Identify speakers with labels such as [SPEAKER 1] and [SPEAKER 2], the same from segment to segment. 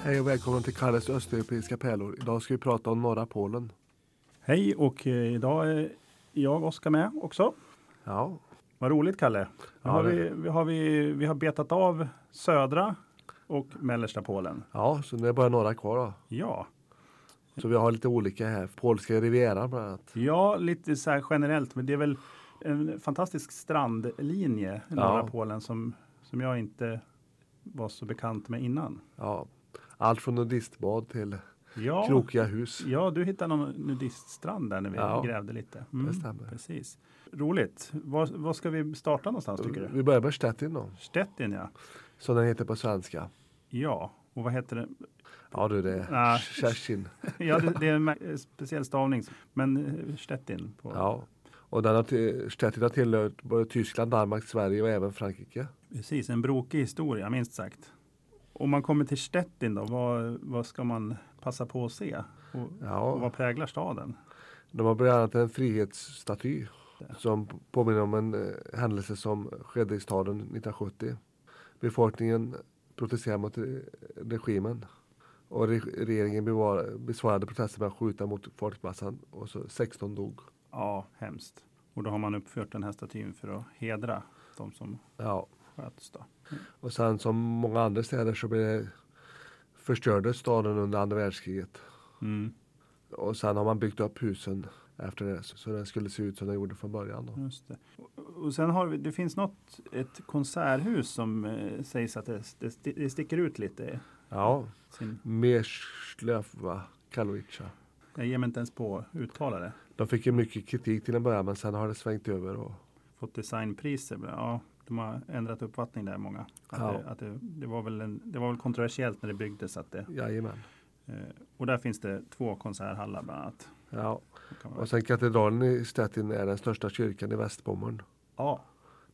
[SPEAKER 1] Hej och välkommen till Kalles östeuropeiska pärlor. Idag ska vi prata om norra Polen.
[SPEAKER 2] Hej och eh, idag är jag Oskar med också.
[SPEAKER 1] Ja,
[SPEAKER 2] Vad roligt Kalle. Nu
[SPEAKER 1] Ja,
[SPEAKER 2] har
[SPEAKER 1] det-
[SPEAKER 2] vi, vi, har vi, vi har betat av södra och mellersta Polen.
[SPEAKER 1] ja så nu är det bara några kvar då.
[SPEAKER 2] Ja,
[SPEAKER 1] Så vi har lite olika här. Polska rivieran bland annat.
[SPEAKER 2] ja lite så här generellt men det är väl en fantastisk strandlinje i norra
[SPEAKER 1] Ja.
[SPEAKER 2] Polen som, som jag inte var så bekant med innan.
[SPEAKER 1] Ja. Allt från nudistbad till
[SPEAKER 2] Ja,
[SPEAKER 1] krokiga hus.
[SPEAKER 2] ja du hittade någon nudiststrand där när vi
[SPEAKER 1] Ja.
[SPEAKER 2] grävde lite. Mm,
[SPEAKER 1] Det stämmer.
[SPEAKER 2] Precis. Roligt. Var, var ska vi starta någonstans tycker du?
[SPEAKER 1] Vi börjar med Stettin då,
[SPEAKER 2] Stettin ja.
[SPEAKER 1] som den heter på svenska.
[SPEAKER 2] Ja, och vad heter det?
[SPEAKER 1] Ja du, det är
[SPEAKER 2] Nej.
[SPEAKER 1] Kerstin.
[SPEAKER 2] Ja, det, det är en mär- eh, speciell stavning. Men eh, Stettin. På.
[SPEAKER 1] Ja. Och den har, till- Stettin har tillhört både Tyskland, Danmark, Sverige och även Frankrike.
[SPEAKER 2] Precis, en brokig historia minst sagt. Om man kommer till Stettin då, vad, vad ska man passa på att se? Och, och
[SPEAKER 1] Ja.
[SPEAKER 2] vad präglar staden?
[SPEAKER 1] De har bland annat en frihetsstaty som påminner om en eh, händelse som skedde i staden 1970. Befolkningen protesterade mot eh, regimen och re- regeringen bevar- besvarade protesten med att skjuta mot folkmassan och så 16 dog.
[SPEAKER 2] Ja, hemskt. Och då har man uppfört den här statyn för att hedra de som
[SPEAKER 1] Ja.
[SPEAKER 2] sköts. Då.
[SPEAKER 1] Och sen som många andra städer så blev det, förstördes staden under andra världskriget.
[SPEAKER 2] Mm,
[SPEAKER 1] Och sen har man byggt upp husen efter det så så den skulle se ut som den gjorde från början. Då.
[SPEAKER 2] just det. Och, och sen har vi, det finns något, ett konserthus som eh, sägs att det, det, sti- det sticker ut lite.
[SPEAKER 1] Ja,
[SPEAKER 2] Sin,
[SPEAKER 1] Meslöva Kalovica.
[SPEAKER 2] jag ger mig inte ens på att uttala det.
[SPEAKER 1] De fick ju mycket kritik till en början men sen har det svängt över. Och,
[SPEAKER 2] fått designpriser. Ja, de har ändrat uppfattning där många. Att
[SPEAKER 1] Ja.
[SPEAKER 2] det, att det, det, var väl en, det var väl kontroversiellt när det byggdes. Att det,
[SPEAKER 1] jajamän.
[SPEAKER 2] eh, och där finns det två konserthallar bland annat.
[SPEAKER 1] Ja.
[SPEAKER 2] Kan man-
[SPEAKER 1] Och sen katedralen i Stettin är den största kyrkan i Västbommern.
[SPEAKER 2] Ja,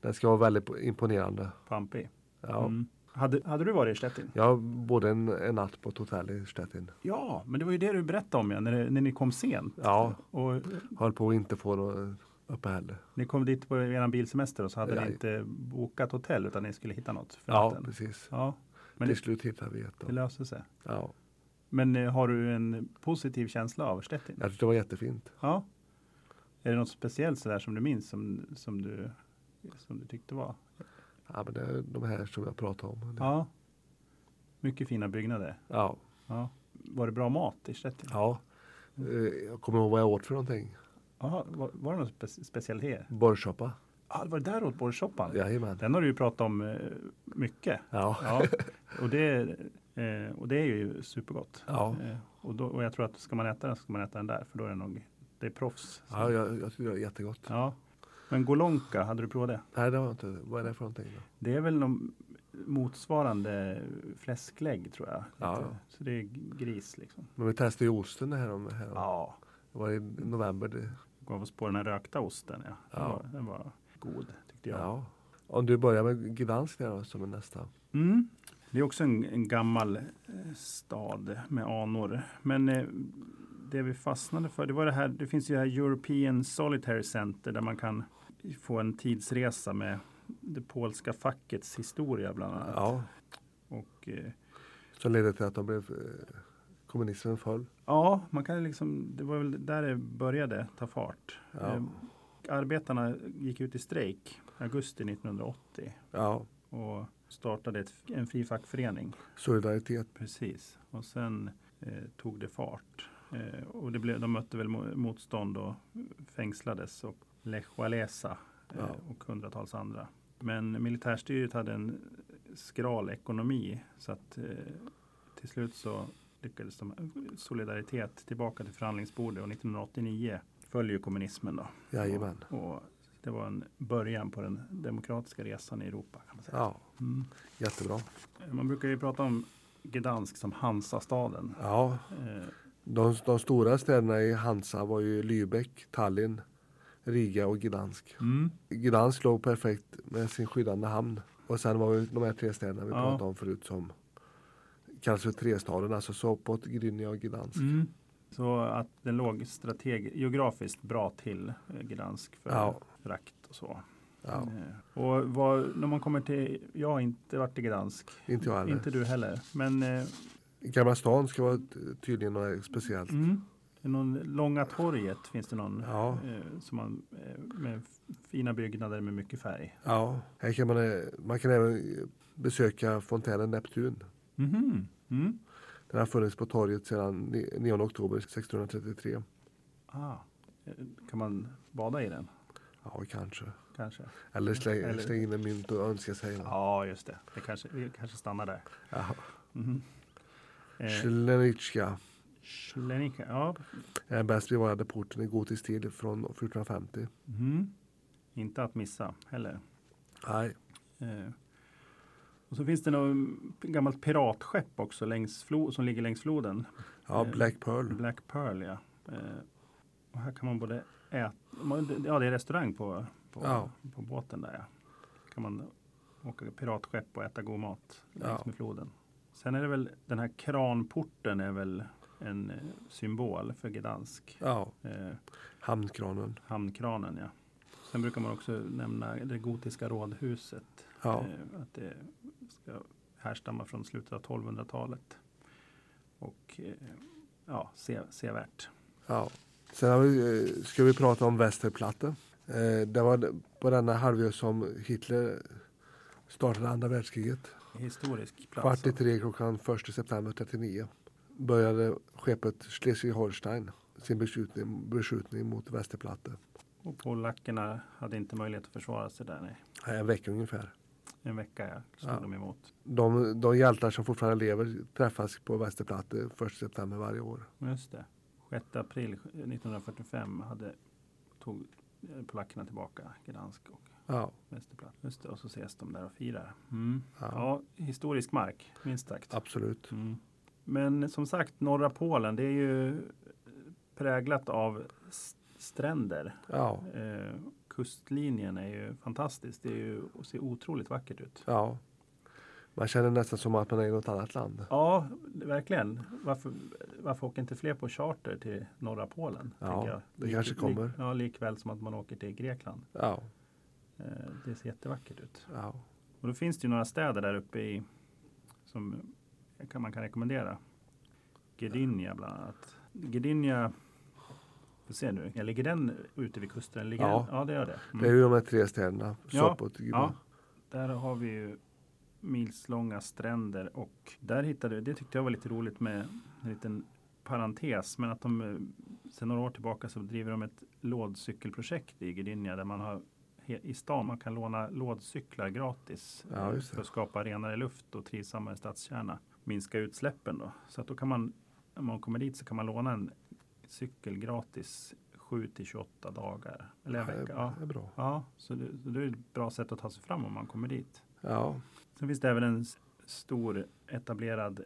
[SPEAKER 1] Den ska vara väldigt imponerande.
[SPEAKER 2] pampig.
[SPEAKER 1] Ja.
[SPEAKER 2] Mm. Hade, hade du varit i Stettin?
[SPEAKER 1] Jag bodde en, en natt på ett hotell i Stettin.
[SPEAKER 2] Ja, men det var ju det du berättade om ja, när, det- när ni kom sent.
[SPEAKER 1] Ja,
[SPEAKER 2] Och eh,
[SPEAKER 1] höll på att inte få något uppehälle.
[SPEAKER 2] ni kom dit på er bilsemester och så hade
[SPEAKER 1] Ja.
[SPEAKER 2] ni inte bokat hotell utan ni skulle hitta något för
[SPEAKER 1] Ja,
[SPEAKER 2] natten.
[SPEAKER 1] precis.
[SPEAKER 2] Ja, men
[SPEAKER 1] Till
[SPEAKER 2] det,
[SPEAKER 1] slut hittade vi ett.
[SPEAKER 2] det
[SPEAKER 1] då.
[SPEAKER 2] löste sig.
[SPEAKER 1] Ja.
[SPEAKER 2] Men eh, har du en positiv känsla av Stettin?
[SPEAKER 1] Jag tyckte det var jättefint.
[SPEAKER 2] Ja. Är det något speciellt sådär som du minns som, som, du, som du tyckte var?
[SPEAKER 1] Ja, men det är de här som jag pratade om.
[SPEAKER 2] Ja. Mycket fina byggnader.
[SPEAKER 1] Ja.
[SPEAKER 2] Ja. Var det bra mat i Stettin?
[SPEAKER 1] ja. Eh, Jag kommer ihåg vad jag åt för någonting.
[SPEAKER 2] Jaha, var, var det någon spe, specialitet?
[SPEAKER 1] Borgsoppa.
[SPEAKER 2] Ja, det var det där åt borgsoppan?
[SPEAKER 1] Jajamän.
[SPEAKER 2] Den har du ju pratat om eh, mycket.
[SPEAKER 1] Ja.
[SPEAKER 2] Ja. Och, det, eh, och det är ju supergott.
[SPEAKER 1] Ja.
[SPEAKER 2] Eh, och, då, och jag tror att ska man äta den ska man äta den där för då är det nog det är proffs.
[SPEAKER 1] Ja, jag, jag tyckte det var jättegott.
[SPEAKER 2] Ja. Men golonka, hade du provat det?
[SPEAKER 1] Nej, det var inte. Vad är det för någonting? Då?
[SPEAKER 2] Det är väl någon motsvarande fläsklägg tror jag.
[SPEAKER 1] Ja,
[SPEAKER 2] Lite.
[SPEAKER 1] ja.
[SPEAKER 2] Så det är gris liksom.
[SPEAKER 1] Men vi testade ju osten här om här. om-
[SPEAKER 2] Ja.
[SPEAKER 1] Det var i november. Det,
[SPEAKER 2] Gav oss på den här rökta osten. Ja. Den,
[SPEAKER 1] Ja.
[SPEAKER 2] var, den var god tyckte
[SPEAKER 1] ja.
[SPEAKER 2] jag.
[SPEAKER 1] Om du börjar med Gdansk där då, som är nästa.
[SPEAKER 2] Mm. Det är också en, en gammal eh, stad med anor. Men eh, det vi fastnade för, det var det här. Det finns ju det här European Solitary Center där man kan få en tidsresa med det polska fackets historia bland annat.
[SPEAKER 1] Ja.
[SPEAKER 2] Och, eh,
[SPEAKER 1] Som ledde till att de blev eh, kommunismen föll.
[SPEAKER 2] Ja, man kan liksom, det var väl där det började ta fart.
[SPEAKER 1] Ja.
[SPEAKER 2] Eh, Arbetarna gick ut i strejk i augusti 1980
[SPEAKER 1] Ja.
[SPEAKER 2] och startade ett, en fri fackförening.
[SPEAKER 1] Solidaritet.
[SPEAKER 2] Precis. Och sen eh, tog det fart. Eh, och det blev, de mötte väl mo- motstånd och fängslades. Och Lech Walesa eh,
[SPEAKER 1] Ja.
[SPEAKER 2] och hundratals andra. Men militärstyret hade en skral ekonomi. Så att eh, till slut så lyckades de solidaritet tillbaka till förhandlingsbordet. Och 1989 följer ju kommunismen då.
[SPEAKER 1] Jajamän.
[SPEAKER 2] Och det var en början på den demokratiska resan i Europa. kan man säga.
[SPEAKER 1] Ja.
[SPEAKER 2] Mm.
[SPEAKER 1] Jättebra.
[SPEAKER 2] Man brukar ju prata om Gdansk som Hansastaden.
[SPEAKER 1] Ja.
[SPEAKER 2] Eh,
[SPEAKER 1] De, de stora städerna i Hansa var ju Lübeck, Tallinn, Riga och Gdansk.
[SPEAKER 2] Mm,
[SPEAKER 1] Gdansk låg perfekt med sin skyddande hamn. Och sen var det de här tre städerna vi
[SPEAKER 2] Ja.
[SPEAKER 1] pratade om förut som kallas för trestaden, alltså Sopot, Gdynia och Gdansk.
[SPEAKER 2] Mm. Så att den låg strateg- geografiskt bra till eh, Gdansk för
[SPEAKER 1] Ja.
[SPEAKER 2] frakt och så.
[SPEAKER 1] Ja,
[SPEAKER 2] Eh, Och vad, när man kommer till, jag har inte varit i Gdansk.
[SPEAKER 1] inte jag heller.
[SPEAKER 2] Inte du heller. Men eh,
[SPEAKER 1] Gamla stan ska vara tydligen något speciellt.
[SPEAKER 2] Mm. Det är Någon Långa torget finns det någon
[SPEAKER 1] Ja.
[SPEAKER 2] eh, som man, eh, med fina byggnader med mycket färg.
[SPEAKER 1] Ja, här kan man, eh, man kan även eh, besöka fontänen Neptun.
[SPEAKER 2] Mhm. Mm.
[SPEAKER 1] Den har funnits på torget sedan ni- 9 oktober 1633.
[SPEAKER 2] Ah. Eh, Kan man bada i den?
[SPEAKER 1] Ja, kanske.
[SPEAKER 2] Kanske.
[SPEAKER 1] Eller släng,
[SPEAKER 2] Eller-
[SPEAKER 1] släng in en mynt och önska sig. något.
[SPEAKER 2] Ja, just det. det kanske, vi kanske stannar där.
[SPEAKER 1] Ja.
[SPEAKER 2] Mhm. Eh,
[SPEAKER 1] Schlenicka
[SPEAKER 2] Schlenica, ja.
[SPEAKER 1] är den bäst bevarade porten i gotisk tid från 1450.
[SPEAKER 2] Mhm. Inte att missa heller.
[SPEAKER 1] Nej.
[SPEAKER 2] Eh, och så finns det något gammalt piratskepp också längs flo- som ligger längs floden.
[SPEAKER 1] Ja,
[SPEAKER 2] Eh,
[SPEAKER 1] Black Pearl.
[SPEAKER 2] Black Pearl, ja. Eh, och här kan man både äta, man- ja det är restaurang på, på,
[SPEAKER 1] Ja.
[SPEAKER 2] på båten där ja. Kan man åka piratskepp och äta god mat längs
[SPEAKER 1] Ja.
[SPEAKER 2] med floden. Sen är det väl den här kranporten är väl en eh, symbol för Gdansk.
[SPEAKER 1] Ja,
[SPEAKER 2] Eh,
[SPEAKER 1] Hamnkranen.
[SPEAKER 2] hamnkranen ja. Sen brukar man också nämna det gotiska rådhuset.
[SPEAKER 1] Ja.
[SPEAKER 2] Eh, Att det ska härstamma från slutet av 1200-talet. Och eh, ja, se, sevärt.
[SPEAKER 1] Ja. Sen har vi, eh, ska vi prata om Västerplatte. Eh, Det var d- på denna halvö som Hitler startade andra världskriget.
[SPEAKER 2] Historisk plats.
[SPEAKER 1] Kvart i tre klockan 1 september 39 började skeppet Schleswig-Holstein sin beskjutning, beskjutning mot Västerplatte.
[SPEAKER 2] Och polackerna hade inte möjlighet att försvara sig där. Nej.
[SPEAKER 1] En vecka ungefär.
[SPEAKER 2] En vecka ja, stod
[SPEAKER 1] Ja.
[SPEAKER 2] de emot.
[SPEAKER 1] De, de hjältar som fortfarande lever träffas på Västerplatte 1 september varje år.
[SPEAKER 2] Just det. 6 april 1945 hade, tog eh, polackerna tillbaka Gdansk och
[SPEAKER 1] Ja,
[SPEAKER 2] Västerplatt. Just det, och så ses de där och firar. Mm.
[SPEAKER 1] Ja.
[SPEAKER 2] Ja. historisk mark, minst sagt.
[SPEAKER 1] absolut.
[SPEAKER 2] Mm. Men som sagt, norra Polen, det är ju präglat av s- stränder.
[SPEAKER 1] Ja,
[SPEAKER 2] Eh, kustlinjen är ju fantastisk. Det är ju, och ser otroligt vackert ut.
[SPEAKER 1] ja. Man känner nästan som att man är i något annat land.
[SPEAKER 2] Ja, verkligen. Varför, varför åker inte fler på charter till norra Polen?
[SPEAKER 1] Ja,
[SPEAKER 2] tänker jag.
[SPEAKER 1] det kanske kommer.
[SPEAKER 2] ja, likväl som att man åker till Grekland.
[SPEAKER 1] Ja,
[SPEAKER 2] Eh, det ser jättevackert ut.
[SPEAKER 1] ja.
[SPEAKER 2] Och då finns det ju några städer där uppe i som kan, man kan rekommendera. Gdynia bland annat. Gdynia, får se nu, ja, ligger den ute vid kusten? Ligger
[SPEAKER 1] Ja.
[SPEAKER 2] Den? ja, det gör det. Mm.
[SPEAKER 1] Det är ju de här tre städerna.
[SPEAKER 2] Ja,
[SPEAKER 1] Sopot,
[SPEAKER 2] Ja, där har vi ju milslånga stränder och där hittade vi, det tyckte jag var lite roligt med en liten parentes, men att de eh, sedan några år tillbaka så driver de ett lådcykelprojekt i Gdynia där man har he- i stan, man kan låna lådcyklar gratis
[SPEAKER 1] Ja,
[SPEAKER 2] eh,
[SPEAKER 1] just det.
[SPEAKER 2] för att skapa renare luft och trivsammare stadskärna. Minska utsläppen då. Så att då kan man, när man kommer dit så kan man låna en cykel gratis 7 till 28 dagar. Eller en
[SPEAKER 1] Det
[SPEAKER 2] vecka. Ja.
[SPEAKER 1] är- är bra.
[SPEAKER 2] Ja, så det, så det är ett bra sätt att ta sig fram om man kommer dit.
[SPEAKER 1] Ja,
[SPEAKER 2] Sen finns det även en s- stor etablerad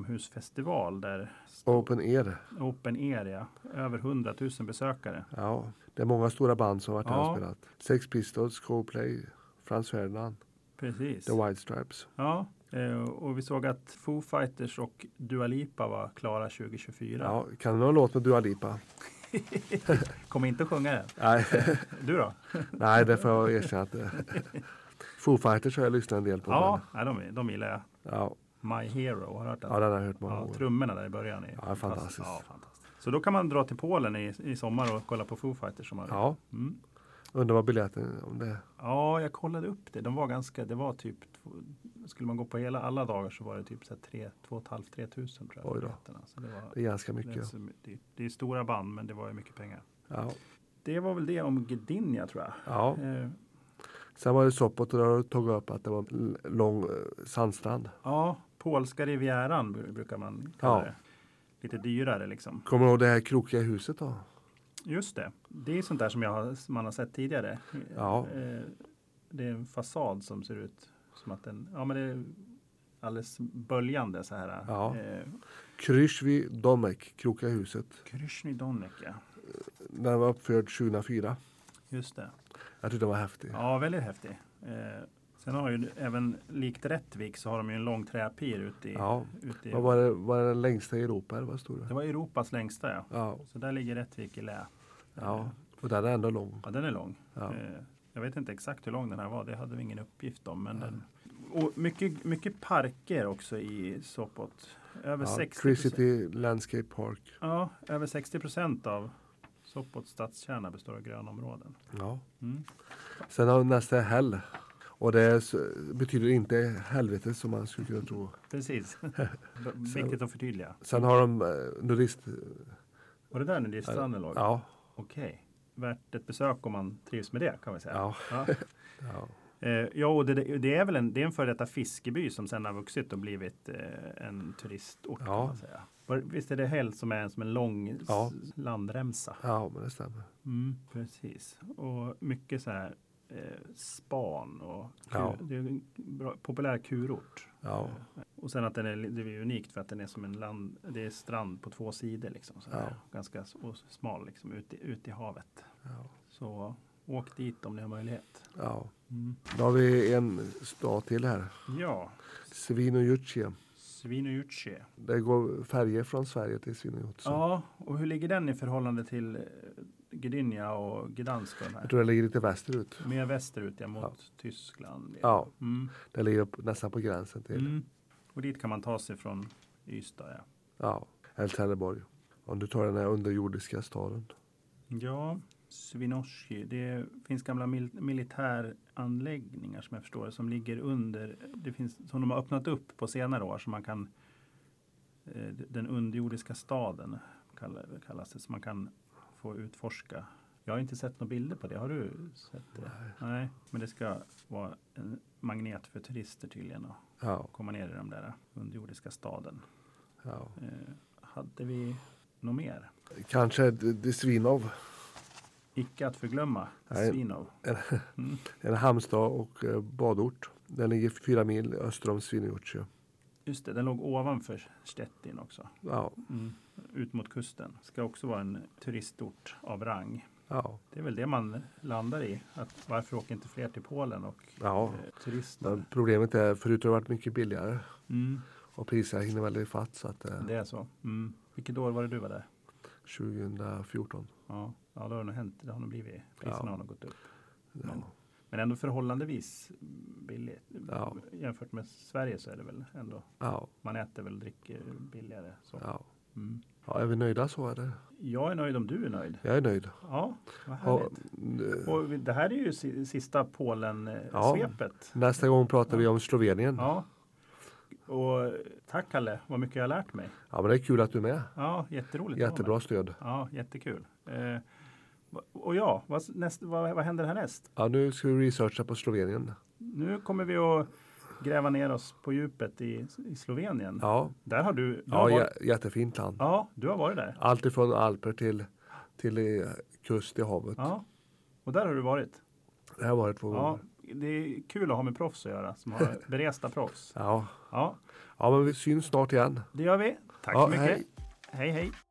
[SPEAKER 2] utomhusfestival där
[SPEAKER 1] Open Air.
[SPEAKER 2] Open Air, ja. över 100 000 besökare.
[SPEAKER 1] Ja, det är många stora band som har varit här
[SPEAKER 2] Ja.
[SPEAKER 1] och spelat. Sex Pistols, Coldplay, Franz Ferdinand,
[SPEAKER 2] Precis.
[SPEAKER 1] The White Stripes.
[SPEAKER 2] Ja, eh, och vi såg att Foo Fighters och Dua Lipa var klara 2024.
[SPEAKER 1] Ja, kan du någon låt med Dua Lipa?
[SPEAKER 2] Kommer inte sjunga den.
[SPEAKER 1] Nej,
[SPEAKER 2] Du då?
[SPEAKER 1] nej det får jag erkänna att det Foo Fighters har jag lyssnat en del på.
[SPEAKER 2] Ja, nej, de, de gillar jag.
[SPEAKER 1] men- ja,
[SPEAKER 2] My Hero, har du hört den?
[SPEAKER 1] ja, den har jag hört många
[SPEAKER 2] Ja,
[SPEAKER 1] gånger.
[SPEAKER 2] trummorna där i början är
[SPEAKER 1] Ja, fantastiskt.
[SPEAKER 2] Ja, fantastiskt. Så då kan man dra till Polen i, i sommar och kolla på Foo Fighters. Som har
[SPEAKER 1] Ja,
[SPEAKER 2] Mm.
[SPEAKER 1] undrar vad biljetten om det
[SPEAKER 2] Ja, jag kollade upp det. De var ganska, det var typ, två- skulle man gå på hela alla dagar så var det typ så här tre, två och ett halvt, tre tusen tror jag.
[SPEAKER 1] Oj då.
[SPEAKER 2] biljetterna. Så det, var,
[SPEAKER 1] Det är ganska
[SPEAKER 2] det, är
[SPEAKER 1] mycket.
[SPEAKER 2] så- det, det är stora band, men det var ju mycket pengar.
[SPEAKER 1] Ja,
[SPEAKER 2] Det var väl det om Gdynia tror jag.
[SPEAKER 1] ja.
[SPEAKER 2] Eh,
[SPEAKER 1] Sen var det Sopot och där har du tagit upp att det var en l- lång eh, sandstrand.
[SPEAKER 2] ja, polska rivieran bru- brukar man kalla
[SPEAKER 1] Ja.
[SPEAKER 2] det. Lite dyrare liksom.
[SPEAKER 1] Kommer du ihåg det här krokiga huset då?
[SPEAKER 2] Just det. Det är sånt där som jag, har- som man har sett tidigare.
[SPEAKER 1] Ja.
[SPEAKER 2] Eh, Det är en fasad som ser ut som att den, ja men det är alldeles böljande så här.
[SPEAKER 1] Ja.
[SPEAKER 2] Eh,
[SPEAKER 1] Kryshvi Domek, krokiga huset.
[SPEAKER 2] Kryshny Donek, ja.
[SPEAKER 1] Den var uppförd 2004.
[SPEAKER 2] Just det.
[SPEAKER 1] Jag tyckte den var häftig.
[SPEAKER 2] Ja, väldigt häftig. Eh, sen har ju även likt Rättvik så har de ju en lång träpir ute i...
[SPEAKER 1] Ja.
[SPEAKER 2] Ute i
[SPEAKER 1] Vad var det, var det den längsta i Europa eller vad stod
[SPEAKER 2] det
[SPEAKER 1] det?
[SPEAKER 2] var Europas längsta ja.
[SPEAKER 1] Ja,
[SPEAKER 2] Så där ligger Rättvik i lä. Eh,
[SPEAKER 1] ja. Och den är ändå lång.
[SPEAKER 2] Ja, den är lång.
[SPEAKER 1] Ja.
[SPEAKER 2] Eh, jag vet inte exakt hur lång den här var. Det hade vi ingen uppgift om. Men den... Och mycket, mycket parker också i Sopot. Över
[SPEAKER 1] Ja,
[SPEAKER 2] 60
[SPEAKER 1] Tree City Landscape Park.
[SPEAKER 2] Ja, över 60 procent av Soppots stadskärna består av grönområden.
[SPEAKER 1] Ja.
[SPEAKER 2] Mm.
[SPEAKER 1] Sen har vi nästa Hell. Och det är, s- betyder inte helvete som man skulle kunna tro.
[SPEAKER 2] Precis. B- Viktigt att förtydliga.
[SPEAKER 1] Sen har de eh, nudist...
[SPEAKER 2] Var det där nudiststranden låg?
[SPEAKER 1] Ja,
[SPEAKER 2] Okej. Värt ett besök om man trivs med det kan vi säga.
[SPEAKER 1] ja,
[SPEAKER 2] Ja.
[SPEAKER 1] ja.
[SPEAKER 2] Eh, ja, och det, det är väl en, det är en före detta fiskeby som sedan har vuxit och blivit eh, en turistort. Kan
[SPEAKER 1] Ja.
[SPEAKER 2] man säga. Var, visst är det Häll som är en- som en lång s-
[SPEAKER 1] Ja.
[SPEAKER 2] landremsa?
[SPEAKER 1] ja men det stämmer.
[SPEAKER 2] Mm, precis. Och mycket så här eh, span och kur,
[SPEAKER 1] Ja.
[SPEAKER 2] det är en bra, populär kurort.
[SPEAKER 1] Ja,
[SPEAKER 2] Och sen att den är, li- det är unikt för att den är som en land, det är strand på två sidor liksom. Så
[SPEAKER 1] Ja.
[SPEAKER 2] här. Ganska s- och smal liksom ut i, ut i havet.
[SPEAKER 1] ja,
[SPEAKER 2] Så åk dit om ni har möjlighet.
[SPEAKER 1] ja.
[SPEAKER 2] Mm.
[SPEAKER 1] Då har vi en stad till här.
[SPEAKER 2] Ja,
[SPEAKER 1] Svinojutje.
[SPEAKER 2] Svinojutje.
[SPEAKER 1] Det går färger från Sverige till Svinojutje.
[SPEAKER 2] Ja, och hur ligger den i förhållande till eh, Gdynia och Gdansk? och de här?
[SPEAKER 1] Jag tror det ligger lite västerut.
[SPEAKER 2] Mer västerut, ja, mot Tyskland.
[SPEAKER 1] Ja,
[SPEAKER 2] Mm.
[SPEAKER 1] det ligger upp, nästan på gränsen till
[SPEAKER 2] Mm. Och dit kan man ta sig från Ystad. Ja,
[SPEAKER 1] ja, eller Trelleborg. Om du tar den här underjordiska staden.
[SPEAKER 2] ja Svinoshki, det finns gamla mil- militäranläggningar som jag förstår det, som ligger under, det finns, som de har öppnat upp på senare år, så man kan eh, den underjordiska staden kall- kallas det, så man kan få utforska. Jag har inte sett några bilder på det. Har du sett det? Nej, men det ska vara en magnet för turister tydligen att
[SPEAKER 1] Ja,
[SPEAKER 2] komma ner i den där underjordiska staden.
[SPEAKER 1] ja.
[SPEAKER 2] Eh, hade vi något mer?
[SPEAKER 1] Kanske D- D- Svinov,
[SPEAKER 2] Icke att förglömma Mm.
[SPEAKER 1] Nej.
[SPEAKER 2] Svinov.
[SPEAKER 1] en hamnstad och eh, badort. Den ligger fyra mil öster om Svinojutje.
[SPEAKER 2] Just det, den låg ovanför Stettin också.
[SPEAKER 1] Ja,
[SPEAKER 2] Ut mot kusten. Ska också vara en turistort av rang.
[SPEAKER 1] ja,
[SPEAKER 2] Det är väl det man landar i. Att varför åker inte fler till Polen och
[SPEAKER 1] ja.
[SPEAKER 2] eh, turister?
[SPEAKER 1] Men problemet är, förut har det varit mycket billigare
[SPEAKER 2] Mm,
[SPEAKER 1] och priserna hinner väl ifatt så att eh,
[SPEAKER 2] det är så. Mm. Vilket år var det du var där?
[SPEAKER 1] 2014.
[SPEAKER 2] Ja, ja det har nog hänt. Det har nog blivit. Priserna
[SPEAKER 1] Ja.
[SPEAKER 2] har nog gått upp. Men,
[SPEAKER 1] Ja,
[SPEAKER 2] men ändå förhållandevis billigt.
[SPEAKER 1] Ja.
[SPEAKER 2] Jämfört med Sverige så är det väl ändå.
[SPEAKER 1] ja,
[SPEAKER 2] Man äter väl och dricker billigare. Så.
[SPEAKER 1] ja.
[SPEAKER 2] Mm.
[SPEAKER 1] ja är vi nöjda så eller?
[SPEAKER 2] Jag är nöjd om du är nöjd.
[SPEAKER 1] Jag är nöjd.
[SPEAKER 2] Ja, vad
[SPEAKER 1] Och,
[SPEAKER 2] härligt.
[SPEAKER 1] eh,
[SPEAKER 2] Och vi- det här är ju si- sista
[SPEAKER 1] Ja.
[SPEAKER 2] Polen-svepet.
[SPEAKER 1] nästa gång pratar vi om Slovenien.
[SPEAKER 2] Ja. Och tack Kalle, vad mycket jag har lärt mig.
[SPEAKER 1] Ja, men det är kul att du är med.
[SPEAKER 2] Ja, jätteroligt. att vara med.
[SPEAKER 1] Jättebra stöd.
[SPEAKER 2] Ja, jättekul. Eh, va- och ja, vad, s- näst, vad, vad händer härnäst?
[SPEAKER 1] Ja, nu ska vi researcha på Slovenien.
[SPEAKER 2] Nu kommer vi att gräva ner oss på djupet i, i Slovenien.
[SPEAKER 1] Ja,
[SPEAKER 2] Där har du, du har
[SPEAKER 1] ja
[SPEAKER 2] varit,
[SPEAKER 1] jä- jättefint land.
[SPEAKER 2] ja, du har varit där.
[SPEAKER 1] Allt ifrån alper till, till eh, kust i havet.
[SPEAKER 2] Ja, och där har du varit.
[SPEAKER 1] Det här var det två
[SPEAKER 2] Ja,
[SPEAKER 1] gånger.
[SPEAKER 2] det är kul att ha med proffs att göra, som har beresta proffs.
[SPEAKER 1] Ja.
[SPEAKER 2] Ja,
[SPEAKER 1] ja, men vi syns snart igen.
[SPEAKER 2] det gör vi. Tack
[SPEAKER 1] Ja,
[SPEAKER 2] så mycket.
[SPEAKER 1] hej.
[SPEAKER 2] hej. hej.